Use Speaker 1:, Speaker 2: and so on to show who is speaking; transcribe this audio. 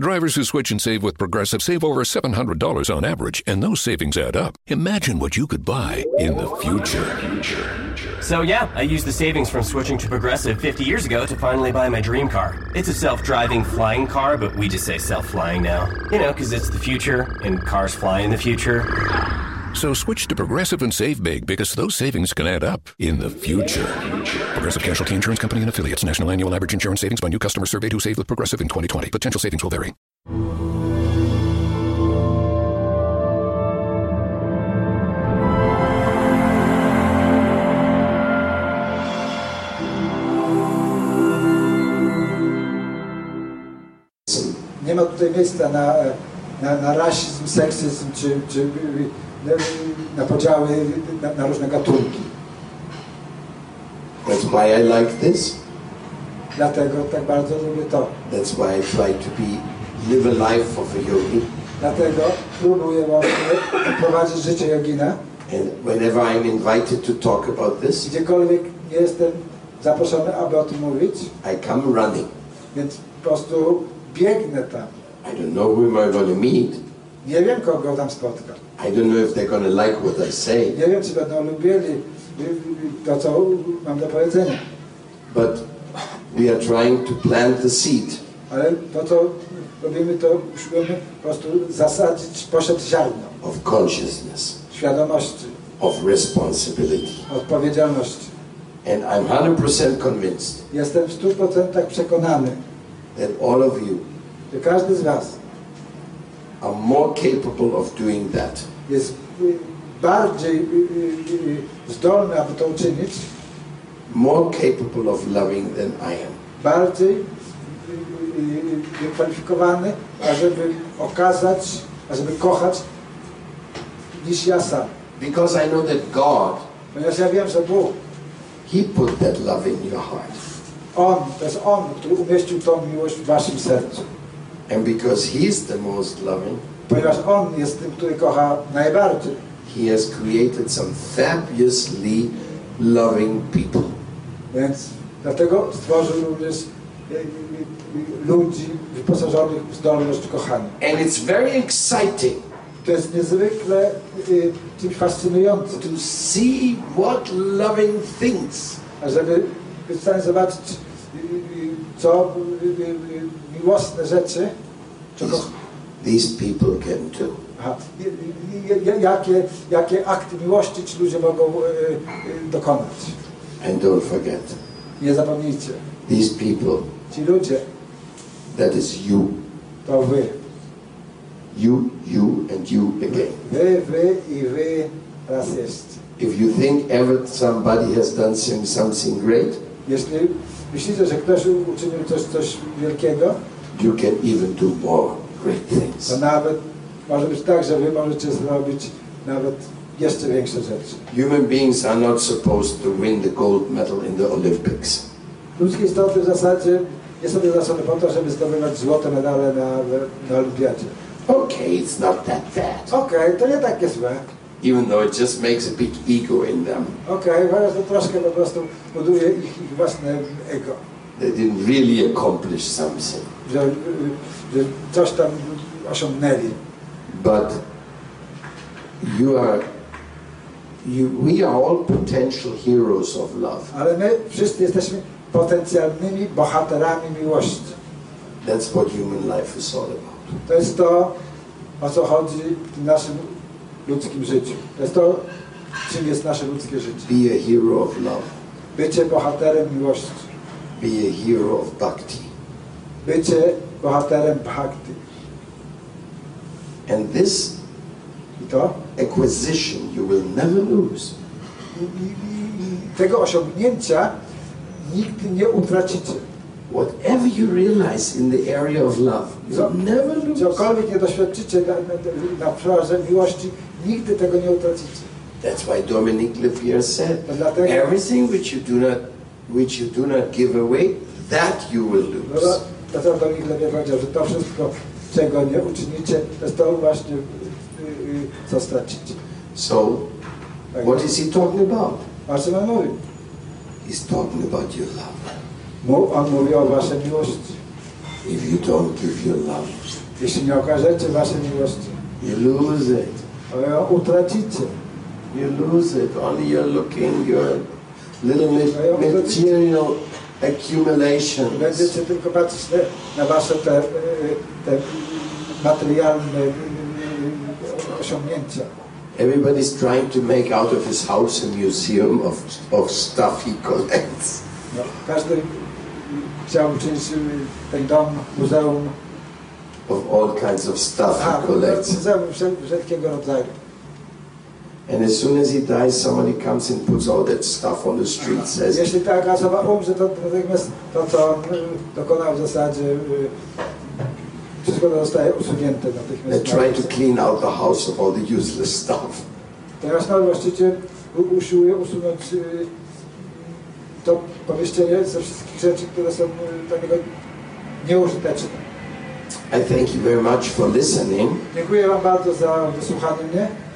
Speaker 1: Drivers who switch and save with Progressive save over $700 on average, and those savings add up. Imagine what you could buy in the future.
Speaker 2: So, yeah, I used the savings from switching to Progressive 50 years ago to finally buy my dream car. It's a self driving flying car, but we just say self flying now. You know, because it's the future, and cars fly in the future.
Speaker 1: So switch to Progressive and save big because those savings can add up in the future. Progressive Casualty Insurance Company and affiliates. National annual average insurance savings by new customer surveyed who saved with Progressive in 2020. Potential savings will vary.
Speaker 3: Nie ma tutaj miejsca na, e, na, na rasizm, seksyzm czy, czy e, na podziały na, na różne gatunki.
Speaker 4: That's why I like this.
Speaker 3: Dlatego tak bardzo lubię to.
Speaker 4: That's why I try to be live a life of a yogi.
Speaker 3: Dlatego próbuję właśnie prowadzić życie jogina.
Speaker 4: And whenever I'm invited to talk about this,
Speaker 3: Gdziekolwiek jestem zaproszony, aby o tym mówić,
Speaker 4: I come running.
Speaker 3: Więc po prostu biegnę tam.
Speaker 4: I don't know whom I'm going to meet.
Speaker 3: Nie wiem, kogo tam spotkam.
Speaker 4: I don't know if they're going to like what I say.
Speaker 3: Nie wiem, czy będą lubili to, co mam do powiedzenia.
Speaker 4: But we are trying to plant the seed.
Speaker 3: Ale to, co robimy, to musimy po prostu zasadzić, posiać ziarno.
Speaker 4: Of consciousness.
Speaker 3: Świadomości.
Speaker 4: Of responsibility.
Speaker 3: Odpowiedzialności.
Speaker 4: And I'm 100% convinced.
Speaker 3: Jestem w 100% przekonany.
Speaker 4: That all of you.
Speaker 3: Że każdy z was.
Speaker 4: Are more capable of doing that.
Speaker 3: Jest bardziej y, zdolny, aby to uczynić.
Speaker 4: More capable of loving than I am.
Speaker 3: Bardziej y, wykwalifikowany, ażeby okazać, ażeby kochać niż ja sam.
Speaker 4: Because I know that God,
Speaker 3: ponieważ ja wiem, że Bóg,
Speaker 4: He put that love in your heart.
Speaker 3: On, to jest On, który umieścił tą miłość w waszym sercu.
Speaker 4: And because He is the most loving,
Speaker 3: ponieważ On jest tym, który kocha najbardziej.
Speaker 4: He has created some fabulously loving people.
Speaker 3: Więc dlatego stworzył również e, ludzi wyposażonych w zdolność kochania.
Speaker 4: And it's very exciting.
Speaker 3: To jest niezwykle e, czymś fascynujące.
Speaker 4: To see what loving things.
Speaker 3: Żeby być w stanie zobaczyć, e, co e, miłosne rzeczy
Speaker 4: these, these people can do.
Speaker 3: Aha. Jakie, jakie akty miłości ci ludzie mogą e, dokonać.
Speaker 4: And don't forget.
Speaker 3: Nie zapomnijcie.
Speaker 4: These people.
Speaker 3: Ci ludzie.
Speaker 4: That is you.
Speaker 3: To wy.
Speaker 4: You, you and you again.
Speaker 3: Wy, wy i wy raz jeszcze.
Speaker 4: If you think ever somebody has done something great,
Speaker 3: jeśli myślicie, że ktoś uczynił coś, coś wielkiego,
Speaker 4: you can even do more great things.
Speaker 3: To nawet może być tak, że wy możecie zrobić nawet jeszcze większe rzeczy.
Speaker 4: Human beings are not supposed to win the gold medal in the Olympics.
Speaker 3: Ludzkie istoty w zasadzie nie są wyznaczone po to, żeby zdobywać złote medale na, na olimpiadzie.
Speaker 4: Okay, it's not that bad.
Speaker 3: Okej, okay, to nie takie złe.
Speaker 4: Even though it just makes a big ego in them.
Speaker 3: Okej, okay, chociaż to troszkę po prostu buduje ich, ich własne ego.
Speaker 4: They didn't really accomplish something.
Speaker 3: Że, że coś tam osiągnęli.
Speaker 4: But you are you, we are all potential heroes of love.
Speaker 3: Ale my wszyscy jesteśmy potencjalnymi bohaterami miłości.
Speaker 4: That's what human life is all about.
Speaker 3: To jest to, o co chodzi w naszym ludzkim życiu. To jest to, czym jest nasze ludzkie życie.
Speaker 4: Be a hero of love.
Speaker 3: Bycie bohaterem miłości.
Speaker 4: Be a hero of bhakti.
Speaker 3: Bycie bohaterem bhakti.
Speaker 4: And this
Speaker 3: I to
Speaker 4: acquisition you will never lose.
Speaker 3: Tego osiągnięcia nigdy nie utracicie.
Speaker 4: Whatever you realize in the area of love, you never lose.
Speaker 3: Cokolwiek nie doświadczycie na, na, na obszarze miłości, nigdy tego nie utracicie.
Speaker 4: That's why Dominic Lefebvre said, everything which you do not, which you do not give away, that you will
Speaker 3: No,
Speaker 4: lose.
Speaker 3: Dlatego Dominic Lefebvre powiedział, że to wszystko, czego nie uczynicie, to jest to właśnie, y, co stracicie. Tak,
Speaker 4: So, what is he talking about?
Speaker 3: O czym on no. mówi?
Speaker 4: He's talking about your love.
Speaker 3: Mów, on mówi o waszej miłości.
Speaker 4: If you don't give your love,
Speaker 3: Jeśli nie okażecie waszej miłości,
Speaker 4: you lose it.
Speaker 3: to ją utracicie.
Speaker 4: You lose it. Only you're looking, you're little ma- material accumulations.
Speaker 3: Będziecie tylko patrzeć na wasze te, e, te materialne e, e, osiągnięcia.
Speaker 4: Everybody's trying to make out of his house a museum of, of stuff he collects.
Speaker 3: No, każdy chciał uczynić e, ten dom muzeum,
Speaker 4: Of all kinds of stuff
Speaker 3: a,
Speaker 4: he collects.
Speaker 3: muzeum wszel- wszelkiego rodzaju.
Speaker 4: And as soon as he dies, somebody comes and puts all that stuff on the street, says,
Speaker 3: Jeśli taka osoba umrze, to natychmiast to, co on e, dokonał w zasadzie, e, wszystko to zostaje usunięte
Speaker 4: I
Speaker 3: natychmiast.
Speaker 4: try to clean out the house of all the useless stuff.
Speaker 3: Teraz nowy właściciel u- usiłuje usunąć y, to pomieszczenie ze wszystkich rzeczy, które są y, dla niego nieużyteczne.
Speaker 4: I thank you very much for listening.
Speaker 3: Dziękuję Wam bardzo za wysłuchanie mnie.